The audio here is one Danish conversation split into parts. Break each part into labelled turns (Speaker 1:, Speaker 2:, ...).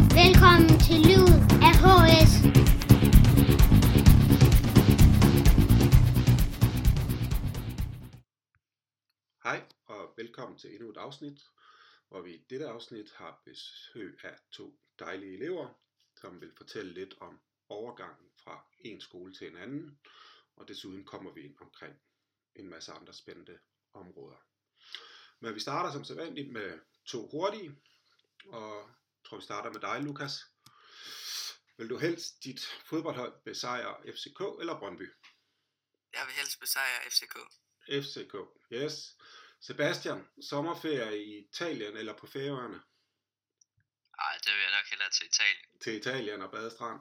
Speaker 1: Velkommen til Livet af HS.
Speaker 2: Hej og velkommen til endnu et afsnit, hvor vi i dette afsnit har besøg af to dejlige elever, som vil fortælle lidt om overgangen fra en skole til en anden, og desuden kommer vi ind omkring en masse andre spændende områder. Men vi starter som sædvanligt med to hurtige, og jeg tror vi starter med dig, Lukas. Vil du helst dit fodboldhold besejre FCK eller Brøndby?
Speaker 3: Jeg vil helst besejre FCK.
Speaker 2: FCK, yes. Sebastian, sommerferie i Italien eller på Færøerne?
Speaker 3: Nej, det vil jeg nok hellere til Italien.
Speaker 2: Til Italien og Badestrand?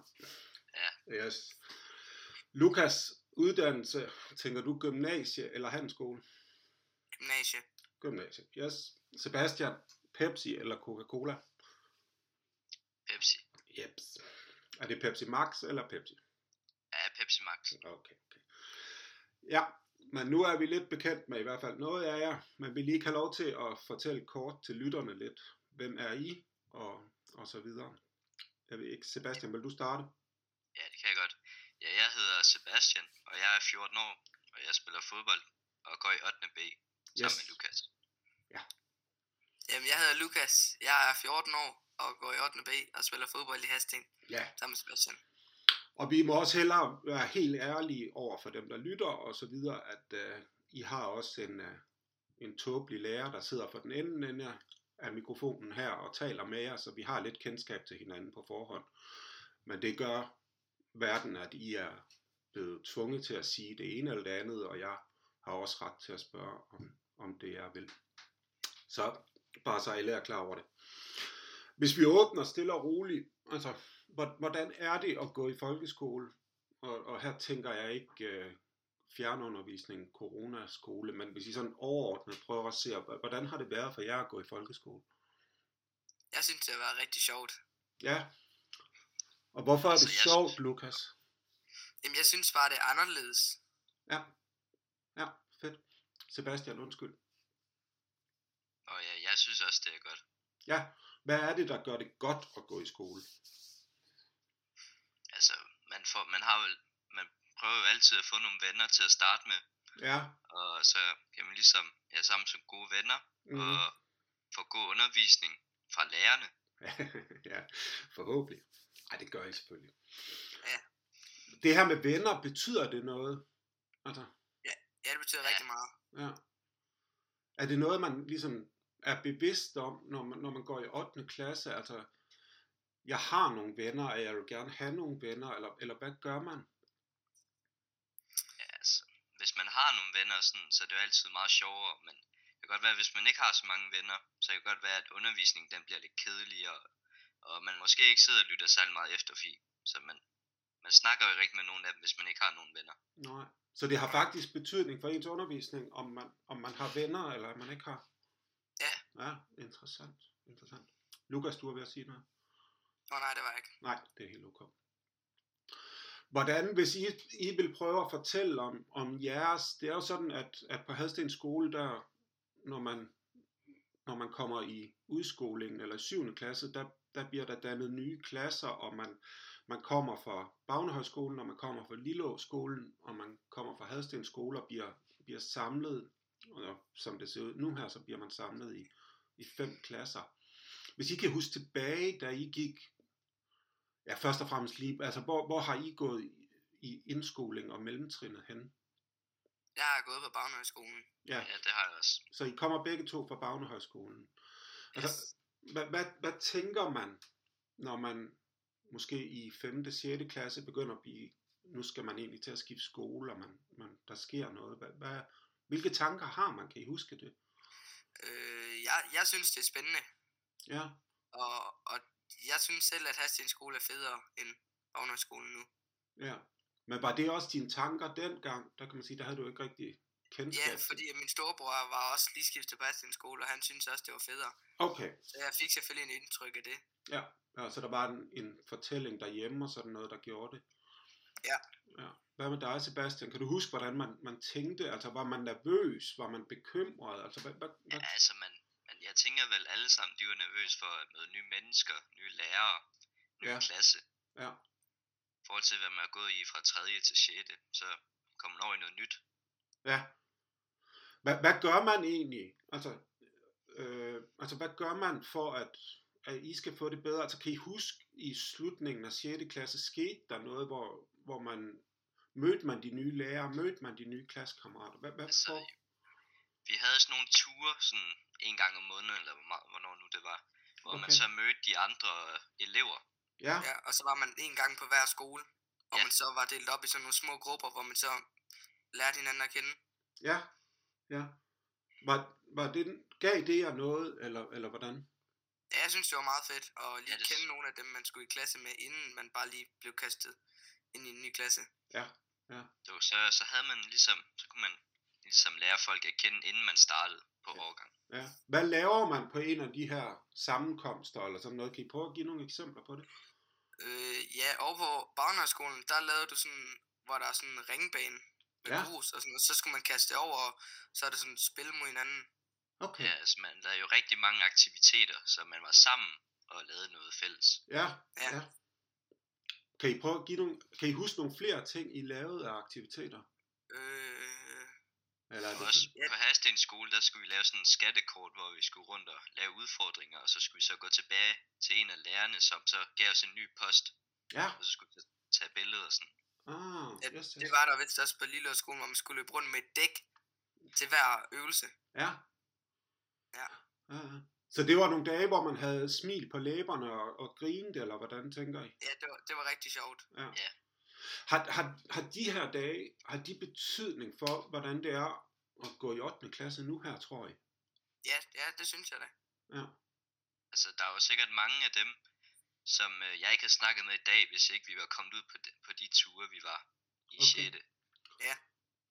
Speaker 3: Ja.
Speaker 2: Yes. Lukas, uddannelse, tænker du gymnasie eller handelsskole?
Speaker 3: Gymnasie.
Speaker 2: Gymnasie, yes. Sebastian, Pepsi eller Coca-Cola?
Speaker 3: Pepsi.
Speaker 2: Jeps. Er det Pepsi Max eller Pepsi?
Speaker 3: Ja, Pepsi Max.
Speaker 2: Okay, okay. Ja, men nu er vi lidt bekendt med i hvert fald noget af jer, men vi lige kan lov til at fortælle kort til lytterne lidt, hvem er I, og, og så videre. Jeg ved ikke, Sebastian, vil du starte?
Speaker 3: Ja, det kan jeg godt. Ja, jeg hedder Sebastian, og jeg er 14 år, og jeg spiller fodbold og går i 8. B sammen med Lukas.
Speaker 2: Ja.
Speaker 3: Jamen, jeg hedder Lukas. Jeg er 14 år og går i 8. B og spiller fodbold i Hasting
Speaker 2: Ja,
Speaker 3: sammen med Sebastian.
Speaker 2: og vi må også hellere være helt ærlige over for dem, der lytter og så videre, at øh, I har også en, øh, en tåbelig lærer, der sidder for den ende ende af mikrofonen her og taler med jer, så vi har lidt kendskab til hinanden på forhånd. Men det gør verden, at I er blevet tvunget til at sige det ene eller det andet, og jeg har også ret til at spørge om, om det, jeg vil. Så bare så alle er klar over det. Hvis vi åbner stille og roligt, altså, hvor- hvordan er det at gå i folkeskole? Og, og her tænker jeg ikke øh, fjernundervisning, coronaskole, men hvis I sådan overordnet prøver at se, hv- hvordan har det været for jer at gå i folkeskole?
Speaker 3: Jeg synes, det har været rigtig sjovt.
Speaker 2: Ja. Og hvorfor er det
Speaker 3: Altså, jeg-
Speaker 2: sjovt, Lukas?
Speaker 3: Jamen, jeg synes bare, det er anderledes.
Speaker 2: Ja. Ja, fedt. Sebastian, undskyld.
Speaker 3: Og ja, jeg synes også, det er godt.
Speaker 2: Ja, hvad er det, der gør det godt at gå i skole?
Speaker 3: Altså, man, får, man, har vel, man prøver jo altid at få nogle venner til at starte med,
Speaker 2: Ja.
Speaker 3: og så kan man ligesom, ja, sammen som gode venner,
Speaker 2: Mm.
Speaker 3: og få god undervisning fra lærerne.
Speaker 2: ja, forhåbentlig. Nej, det gør I selvfølgelig.
Speaker 3: Ja.
Speaker 2: Det her med venner, betyder det noget? Altså,
Speaker 3: Ja, det betyder
Speaker 4: Ja.
Speaker 3: rigtig meget.
Speaker 2: ja. Er det noget, man ligesom er bevidst om, når man, når man går i 8. klasse? Altså, jeg har nogle venner, og jeg vil gerne have nogle venner, eller, eller hvad gør man?
Speaker 3: Ja, altså, hvis man har nogle venner, sådan, så er det jo altid meget sjovere, men det kan godt være, at hvis man ikke har så mange venner, så kan det godt være, at undervisningen den bliver lidt kedeligere, og man måske ikke sidder og lytter særlig meget efter, fordi så man, man snakker jo ikke med nogen af dem, hvis man ikke har nogen venner.
Speaker 2: Nej. Så det har faktisk betydning for ens undervisning, om man, om man har venner, eller om man ikke har?
Speaker 3: Ja.
Speaker 2: Ja, interessant. interessant. Lukas, du er ved at sige noget?
Speaker 3: Nå nej, det var ikke.
Speaker 2: Nej, det er helt okay. Hvordan, hvis I, I vil prøve at fortælle om, om jeres, det er jo sådan, at, at på Hadsten skole, der, når man, når man kommer i udskolingen eller 7. klasse, der, der bliver der dannet nye klasser, og man, man kommer fra Bagnehøjskolen, og man kommer fra Lillåskolen, og man kommer fra Hadsten skole og bliver, bliver samlet, og som det ser ud nu her, så bliver man samlet i, i fem klasser. Hvis I kan huske tilbage, da I gik Ja, først og fremmest lige, altså hvor, hvor har I gået i, i indskoling og mellemtrinnet hen?
Speaker 3: Jeg har gået på Bagnehøjskolen.
Speaker 2: Ja,
Speaker 3: Ja, det har jeg også.
Speaker 2: så I kommer begge to fra Bagnehøjskolen. Altså,
Speaker 3: Yes.
Speaker 2: Hvad, hvad, hvad tænker man, når man måske i 5. og 6. klasse begynder at blive, nu skal man egentlig til at skifte skole, og man, man, der sker noget. Hvad, hvad, hvilke tanker har man? Kan I huske det?
Speaker 3: Øh, jeg, jeg synes, det er spændende,
Speaker 2: Ja,
Speaker 3: og, og jeg synes selv, at Hastings skole er federe end Bagnehøjskolen nu.
Speaker 2: ja. Men var det også dine tanker dengang? Der kan man sige, der havde du ikke rigtig kendskab.
Speaker 3: Ja, fordi min storebror var også lige skiftet på Hastings skole, og han synes også, det var federe.
Speaker 2: Okay,
Speaker 3: Så jeg fik selvfølgelig en indtryk af det.
Speaker 2: Ja, ja så der var en, en fortælling derhjemme og sådan noget, der gjorde det.
Speaker 3: Ja.
Speaker 2: ja. Hvad med dig, Sebastian? Kan du huske, hvordan man, man tænkte? Altså, var man nervøs? Var man bekymret? Altså, hvad, hvad,
Speaker 3: Ja,
Speaker 2: hvad?
Speaker 3: altså, man, man, jeg tænker vel alle sammen, de var nervøse for at møde nye mennesker, nye lærere, ny
Speaker 2: Ja.
Speaker 3: ja. klasse.
Speaker 2: Ja.
Speaker 3: I forhold til, hvad man er gået i fra 3. til 6. Så kommer man over i noget nyt.
Speaker 2: Ja. Hvad, hvad gør man egentlig? Altså, øh, altså, hvad gør man for, at, at I skal få det bedre? Altså, kan I huske, i slutningen af 6. klasse skete der noget, hvor, hvor man mødte man de nye lærere, mødte man de nye klassekammerater? Hvad, hvad
Speaker 3: Altså,
Speaker 2: for?
Speaker 3: Vi havde sådan nogle ture, sådan en gang om måneden, eller hvor meget, hvornår nu det var, hvor okay. man
Speaker 2: Okay.
Speaker 3: så mødte de andre øh, elever.
Speaker 2: Ja,
Speaker 4: Ja, og så var man en gang på hver skole,
Speaker 3: Ja.
Speaker 4: og ja. man så var delt op i sådan nogle små grupper, hvor man så lærte hinanden at kende.
Speaker 2: ja, ja. Var, var det, gav det jer noget, eller, eller hvordan?
Speaker 4: Ja, jeg synes, det var meget fedt at
Speaker 3: Ja,
Speaker 4: lige ja,
Speaker 3: det-
Speaker 4: kende nogle af dem, man skulle i klasse med, inden man bare lige blev kastet ind i en ny klasse.
Speaker 3: Det var så, så havde man ligesom, så kunne man ligesom lære folk at kende, inden man startede på
Speaker 2: Ja.
Speaker 3: årgang.
Speaker 2: Ja. Hvad laver man på en af de her sammenkomster, eller sådan noget? Kan I prøve at give nogle eksempler på det?
Speaker 4: Øh, ja, over på barnehøjskolen, der lavede du sådan, hvor der er sådan en ringbane med
Speaker 2: Ja.
Speaker 4: ja. grus og sådan, og så skulle man kaste det over, og så er det sådan et spil mod hinanden.
Speaker 2: Okay.
Speaker 3: Ja, altså man lavede jo rigtig mange aktiviteter, så man var sammen og lavede noget fælles.
Speaker 2: Ja,
Speaker 4: Ja.
Speaker 2: ja. Kan I, prøve at give nogle, kan I huske nogle flere ting, I lavede af aktiviteter?
Speaker 4: Øh,
Speaker 2: Eller er
Speaker 3: Og
Speaker 2: det
Speaker 3: også
Speaker 4: Ja.
Speaker 3: på Hastens skole, der skulle vi lave sådan en skattekort, hvor vi skulle rundt og lave udfordringer, og så skulle vi så gå tilbage til en af lærerne, som så gav os en ny post,
Speaker 2: Ja,
Speaker 3: og så skulle vi så tage billeder og sådan.
Speaker 2: ah,
Speaker 4: ja,
Speaker 2: yes, yes.
Speaker 4: det var der vist også på Lille skolen, hvor man skulle løbe rundt med et dæk til hver øvelse.
Speaker 2: Ja.
Speaker 4: Ja.
Speaker 2: ja. ja. Så det var nogle dage, hvor man havde smil på læberne og, og grinet, eller hvordan tænker I?
Speaker 4: Ja, det var, det var rigtig sjovt.
Speaker 2: Har, har, har de her dage, har de betydning for, hvordan det er at gå i 8. klasse nu her, tror I?
Speaker 4: Ja, ja, det synes jeg da.
Speaker 2: Ja,
Speaker 3: Altså der var sikkert mange af dem, som øh, jeg ikke havde snakket med i dag, hvis ikke vi var kommet ud på de, på de ture, vi var i
Speaker 2: Okay.
Speaker 3: 6.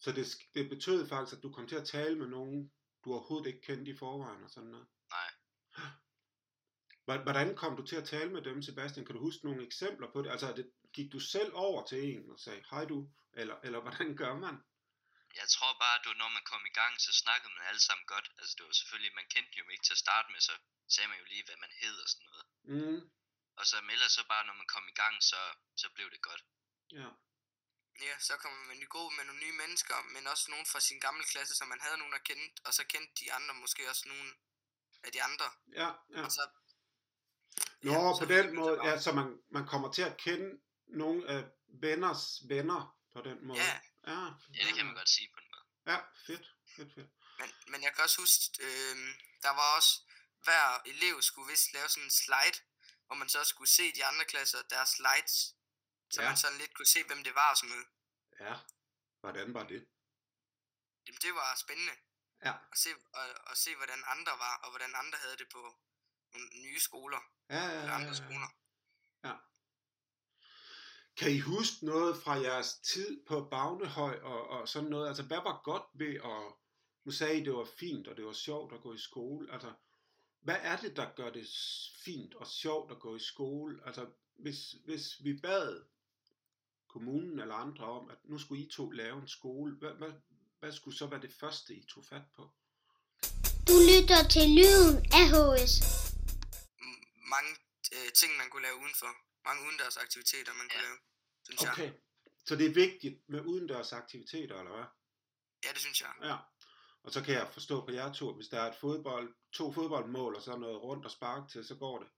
Speaker 2: Så det, sk- det betød faktisk, at du kom til at tale med nogen, du overhovedet ikke kendte i forvejen og sådan noget?
Speaker 3: Nej.
Speaker 2: Hvor- Hvordan kom du til at tale med dem, Sebastian? Kan du huske nogle eksempler på det? Altså, er det, gik du selv over til en og sagde, hej du, eller, eller hvordan gør man?
Speaker 3: Jeg tror bare, at når man kom i gang, så snakkede man alle sammen godt. Altså det var selvfølgelig, man kendte dem jo ikke til at starte med, så sagde man jo lige, hvad man hed og sådan noget.
Speaker 2: Mm,
Speaker 3: Og så men ellers så bare, når man kom i gang, så, så blev det godt.
Speaker 2: ja,
Speaker 4: Ja, så kom man i gruppe med nogle nye mennesker, men også nogen fra sin gamle klasse, som man havde nogen at kende, og så kendte de andre måske også nogen af de andre.
Speaker 2: ja, ja.
Speaker 4: Og så,
Speaker 2: Nå,
Speaker 4: Altså, ja,
Speaker 2: ja,
Speaker 4: så
Speaker 2: på
Speaker 4: fik
Speaker 2: den
Speaker 4: man
Speaker 2: måde,
Speaker 4: bare-
Speaker 2: ja, så man, man kommer til at kende nogle af venners venner på den måde.
Speaker 4: Ja.
Speaker 2: ja,
Speaker 3: Ja, det kan man godt sige på en måde.
Speaker 2: Ja, fedt, fedt, fedt.
Speaker 4: Men, men jeg kan også huske, øh, der var også, hver elev skulle vist lave sådan en slide, hvor man så skulle se de andre klasser deres slides, så
Speaker 2: Ja.
Speaker 4: ja. man sådan lidt kunne se, hvem det var og sådan noget.
Speaker 2: Ja, hvordan var det?
Speaker 4: Jamen, det var spændende
Speaker 2: Ja,
Speaker 4: at se, at, at se, hvordan andre var, og hvordan andre havde det på nogle nye skoler,
Speaker 2: ja, ja,
Speaker 4: eller
Speaker 2: ja,
Speaker 4: andre
Speaker 2: ja.
Speaker 4: skoler.
Speaker 2: Kan I huske noget fra jeres tid på Bagnehøj og, og sådan noget? Altså, hvad var godt ved at... Nu sagde I, det var fint, og det var sjovt at gå i skole. Altså, hvad er det, der gør det s- fint og sjovt at gå i skole? Altså, hvis, hvis vi bad kommunen eller andre om, at nu skulle I to lave en skole, hvad, hvad, hvad skulle så være det første, I tog fat på?
Speaker 1: Du lytter til lyden af HS.
Speaker 4: M- Mange øh, ting, man kunne lave udenfor. Mange udendørs aktiviteter, man kunne
Speaker 3: Ja.
Speaker 4: ja. lave, synes okay. jeg.
Speaker 2: Okay, så det er vigtigt med udendørs aktiviteter, eller hvad?
Speaker 4: Ja, det synes jeg.
Speaker 2: Ja. Og så kan jeg forstå på jer to, hvis der er et fodbold, to fodboldmål og så noget rundt og spark til, så går det.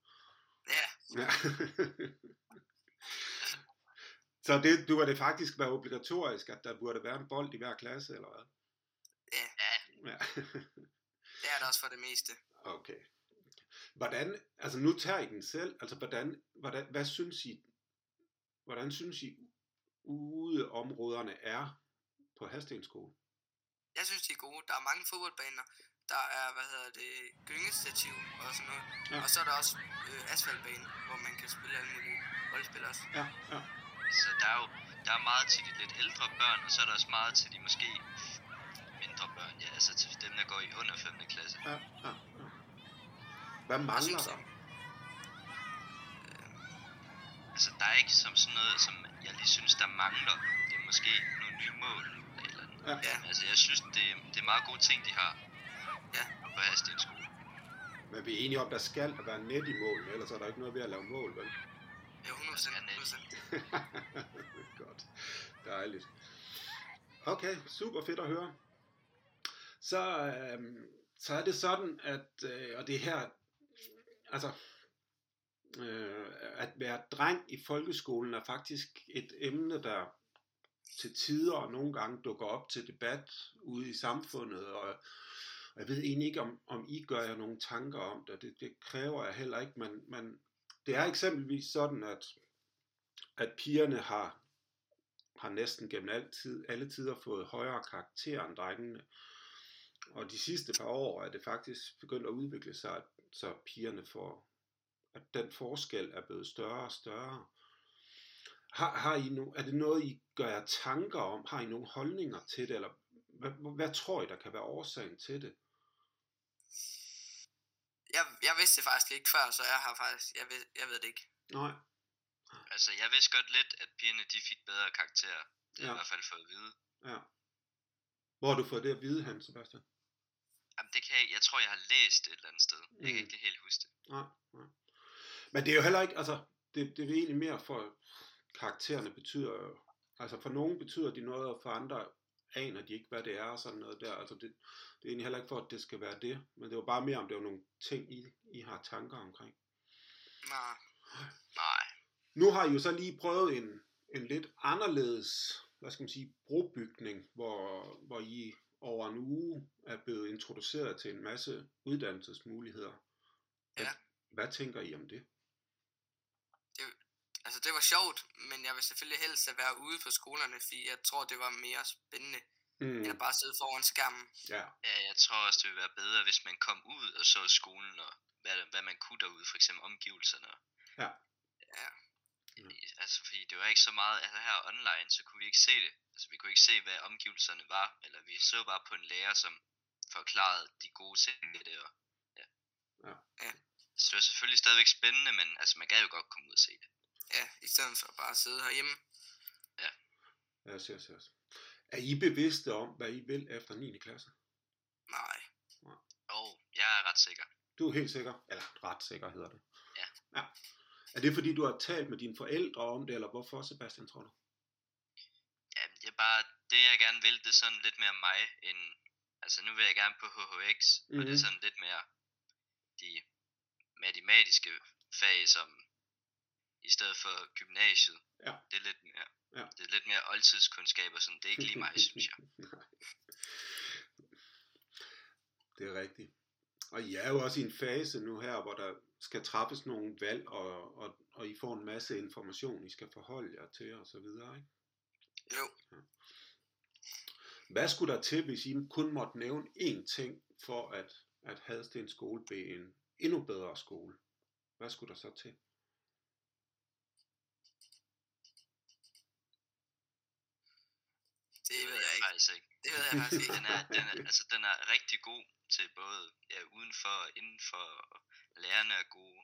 Speaker 4: Ja,
Speaker 2: Ja. så det, du var det faktisk være obligatorisk, at der burde være en bold i hver klasse, eller hvad?
Speaker 4: Ja.
Speaker 2: Ja.
Speaker 4: det er det også for det meste.
Speaker 2: Okay. Hvordan, altså nu tager I den selv, altså hvordan, hvordan hvad synes I, hvordan synes I udeområderne er på Hastenskole?
Speaker 4: Jeg synes, de er gode. Der er mange fodboldbaner. Der er, hvad hedder det, gyngestativ og sådan noget.
Speaker 2: Ja.
Speaker 4: Ja. Og så er der også øh, asfaltbane, hvor man kan spille alle mulige boldspil også.
Speaker 2: Ja, ja,
Speaker 3: Så der er jo der er meget til de lidt ældre børn, og så er der også meget til de måske mindre børn. Ja, altså til dem, der går i under 5. klasse.
Speaker 2: ja, ja. ja. Hvad mangler
Speaker 4: synes
Speaker 2: der?
Speaker 4: jeg.
Speaker 3: Altså der er ikke som sådan noget, som jeg lige synes, der mangler. Det er måske nogle nye mål eller et eller andet.
Speaker 2: Ja.
Speaker 4: Ja.
Speaker 3: Men Altså jeg synes, det, det er meget gode ting, de har
Speaker 4: Ja.
Speaker 3: på Hastens skole.
Speaker 2: Men vi er enige om, der skal være net i mål, ellers er der ikke noget ved at lave mål, vel?
Speaker 4: 100%.
Speaker 2: Godt. Dejligt. Okay, super fedt at høre. Så, øh, så er det sådan, at, øh, og det her, altså, øh, at være dreng i folkeskolen er faktisk et emne, der til tider og nogle gange dukker op til debat ude i samfundet, og jeg ved egentlig ikke, om, om I gør jer nogle tanker om det, det, det kræver jeg heller ikke, men, men det er eksempelvis sådan, at, at pigerne har, har næsten gennem altid, alle tider fået højere karakterer end drengene. Og de sidste par år er det faktisk begyndt at udvikle sig, at, så pigerne får, at den forskel er blevet større og større. Har, har I no, er det noget, I gør jer tanker om? Har I nogle holdninger til det? Eller hvad, hvad tror I, der kan være årsagen til det?
Speaker 4: Jeg, jeg vidste det faktisk ikke før, så jeg har faktisk, jeg ved, jeg ved det ikke.
Speaker 2: Nej.
Speaker 3: Altså, jeg vidste godt lidt, at pigerne de fik bedre karakterer. Det har jeg
Speaker 2: Ja.
Speaker 3: i hvert fald fået at vide.
Speaker 2: Ja. Hvor har du fået det at vide hen, Sebastian?
Speaker 3: Jamen, det kan jeg, jeg tror, jeg har læst et eller andet sted. Jeg kan
Speaker 2: Mm.
Speaker 3: ikke det helt huske det.
Speaker 2: Nej, nej. Men det er jo heller ikke, altså, det, det er egentlig mere for, karaktererne betyder jo, altså for nogen betyder de noget, og for andre aner de ikke, hvad det er og sådan noget der. Altså det, det er egentlig heller ikke for, at det skal være det, men det var bare mere, om det var nogle ting, I, I har tanker omkring.
Speaker 4: Nå,
Speaker 3: Nej.
Speaker 2: Nu har I jo så lige prøvet en, en lidt anderledes, hvad skal man sige, brobygning, hvor, hvor I over en uge er blevet introduceret til en masse uddannelsesmuligheder. Hvad,
Speaker 4: Ja.
Speaker 2: hvad tænker I om det?
Speaker 4: altså det var sjovt, men jeg vil selvfølgelig helst at være ude på skolerne, fordi jeg tror, det var mere spændende,
Speaker 2: Mm,
Speaker 4: end at bare sidde foran skærmen.
Speaker 2: ja.
Speaker 3: Ja, jeg tror også, det ville være bedre, hvis man kom ud og så skolen og hvad, hvad man kunne derude, for eksempel omgivelserne.
Speaker 2: Ja.
Speaker 4: Ja.
Speaker 2: Mm.
Speaker 3: Altså, fordi det var ikke så meget, altså her online, så kunne vi ikke se det. Altså, vi kunne ikke se, hvad omgivelserne var, eller vi så bare på en lærer, som forklarede de gode ting ved det. Og, ja.
Speaker 2: Ja.
Speaker 4: Ja.
Speaker 3: Så det var selvfølgelig stadigvæk spændende, men altså, man gad jo godt komme ud og se det.
Speaker 4: Ja, i stedet for bare at sidde herhjemme.
Speaker 2: Yes, yes, yes. Er I bevidste om, hvad I vil efter 9. klasse?
Speaker 4: Nej.
Speaker 3: Og jeg er ret sikker.
Speaker 2: Du er helt sikker? Eller ret sikker hedder det.
Speaker 3: Ja.
Speaker 2: ja. Er det fordi, du har talt med dine forældre om det, eller hvorfor, Sebastian, tror du?
Speaker 3: Ja, det er bare, det jeg gerne vil, det er sådan lidt mere mig, end, altså nu vil jeg gerne på HHX, mm-hmm. og det
Speaker 2: Mhm.
Speaker 3: er sådan lidt mere de matematiske fag, som i stedet for gymnasiet,
Speaker 2: Ja.
Speaker 3: det er lidt mere,
Speaker 2: Ja.
Speaker 3: det er lidt mere oldtidskundskab og sådan, det er ikke lige mig, synes jeg.
Speaker 2: Nej. Det er rigtigt. Og I er jo også i en fase nu her, hvor der skal træffes nogle valg, og, og, og I får en masse information, I skal forholde jer til og så videre, ikke?
Speaker 4: Jo.
Speaker 2: Hvad skulle der til, hvis I kun måtte nævne én ting, for at, at Hadsten skole blev en endnu bedre skole? Hvad skulle der så til?
Speaker 4: Det,
Speaker 3: Det
Speaker 4: ved jeg ikke.
Speaker 3: faktisk ikke.
Speaker 4: Det ved jeg faktisk ikke.
Speaker 3: Den er, den er, altså, den er rigtig god til både ja, udenfor og indenfor, og lærerne er gode,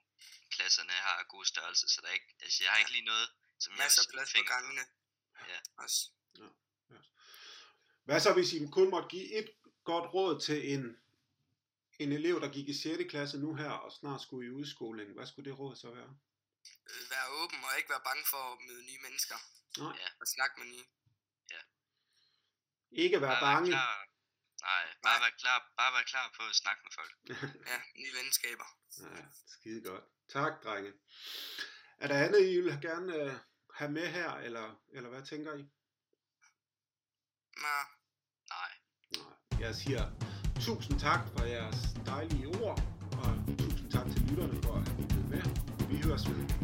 Speaker 3: klasserne har gode størrelser, så der er ikke, altså, jeg har
Speaker 4: Ja.
Speaker 3: ikke lige noget, som jeg
Speaker 4: Masser af
Speaker 3: sætte
Speaker 4: plads på
Speaker 3: fingeren
Speaker 4: gangene.
Speaker 3: Ja.
Speaker 4: Også.
Speaker 2: Hvad så, hvis I kun måtte give et godt råd til en, en elev, der gik i 6. klasse nu her, og snart skulle i udskoling? Hvad skulle det råd så være?
Speaker 4: Øh, Være åben og ikke være bange for at møde nye mennesker.
Speaker 2: Nej.
Speaker 3: Ja.
Speaker 4: Og snakke med nye.
Speaker 2: Ikke være
Speaker 3: Bare
Speaker 2: bange.
Speaker 3: Klar, nej, bare
Speaker 4: Nej.
Speaker 3: være klar, bare være klar på at snakke med folk.
Speaker 4: Ja, nye venskaber.
Speaker 2: Ja, skide godt. Tak, drenge. Er der andet, I vil gerne øh, have med her, eller, eller hvad tænker I?
Speaker 4: Nå,
Speaker 3: Nej.
Speaker 2: Nej. Jeg siger tusind tak for jeres dejlige ord, og tusind tak til lytterne for at lytte med. Vi høres ved.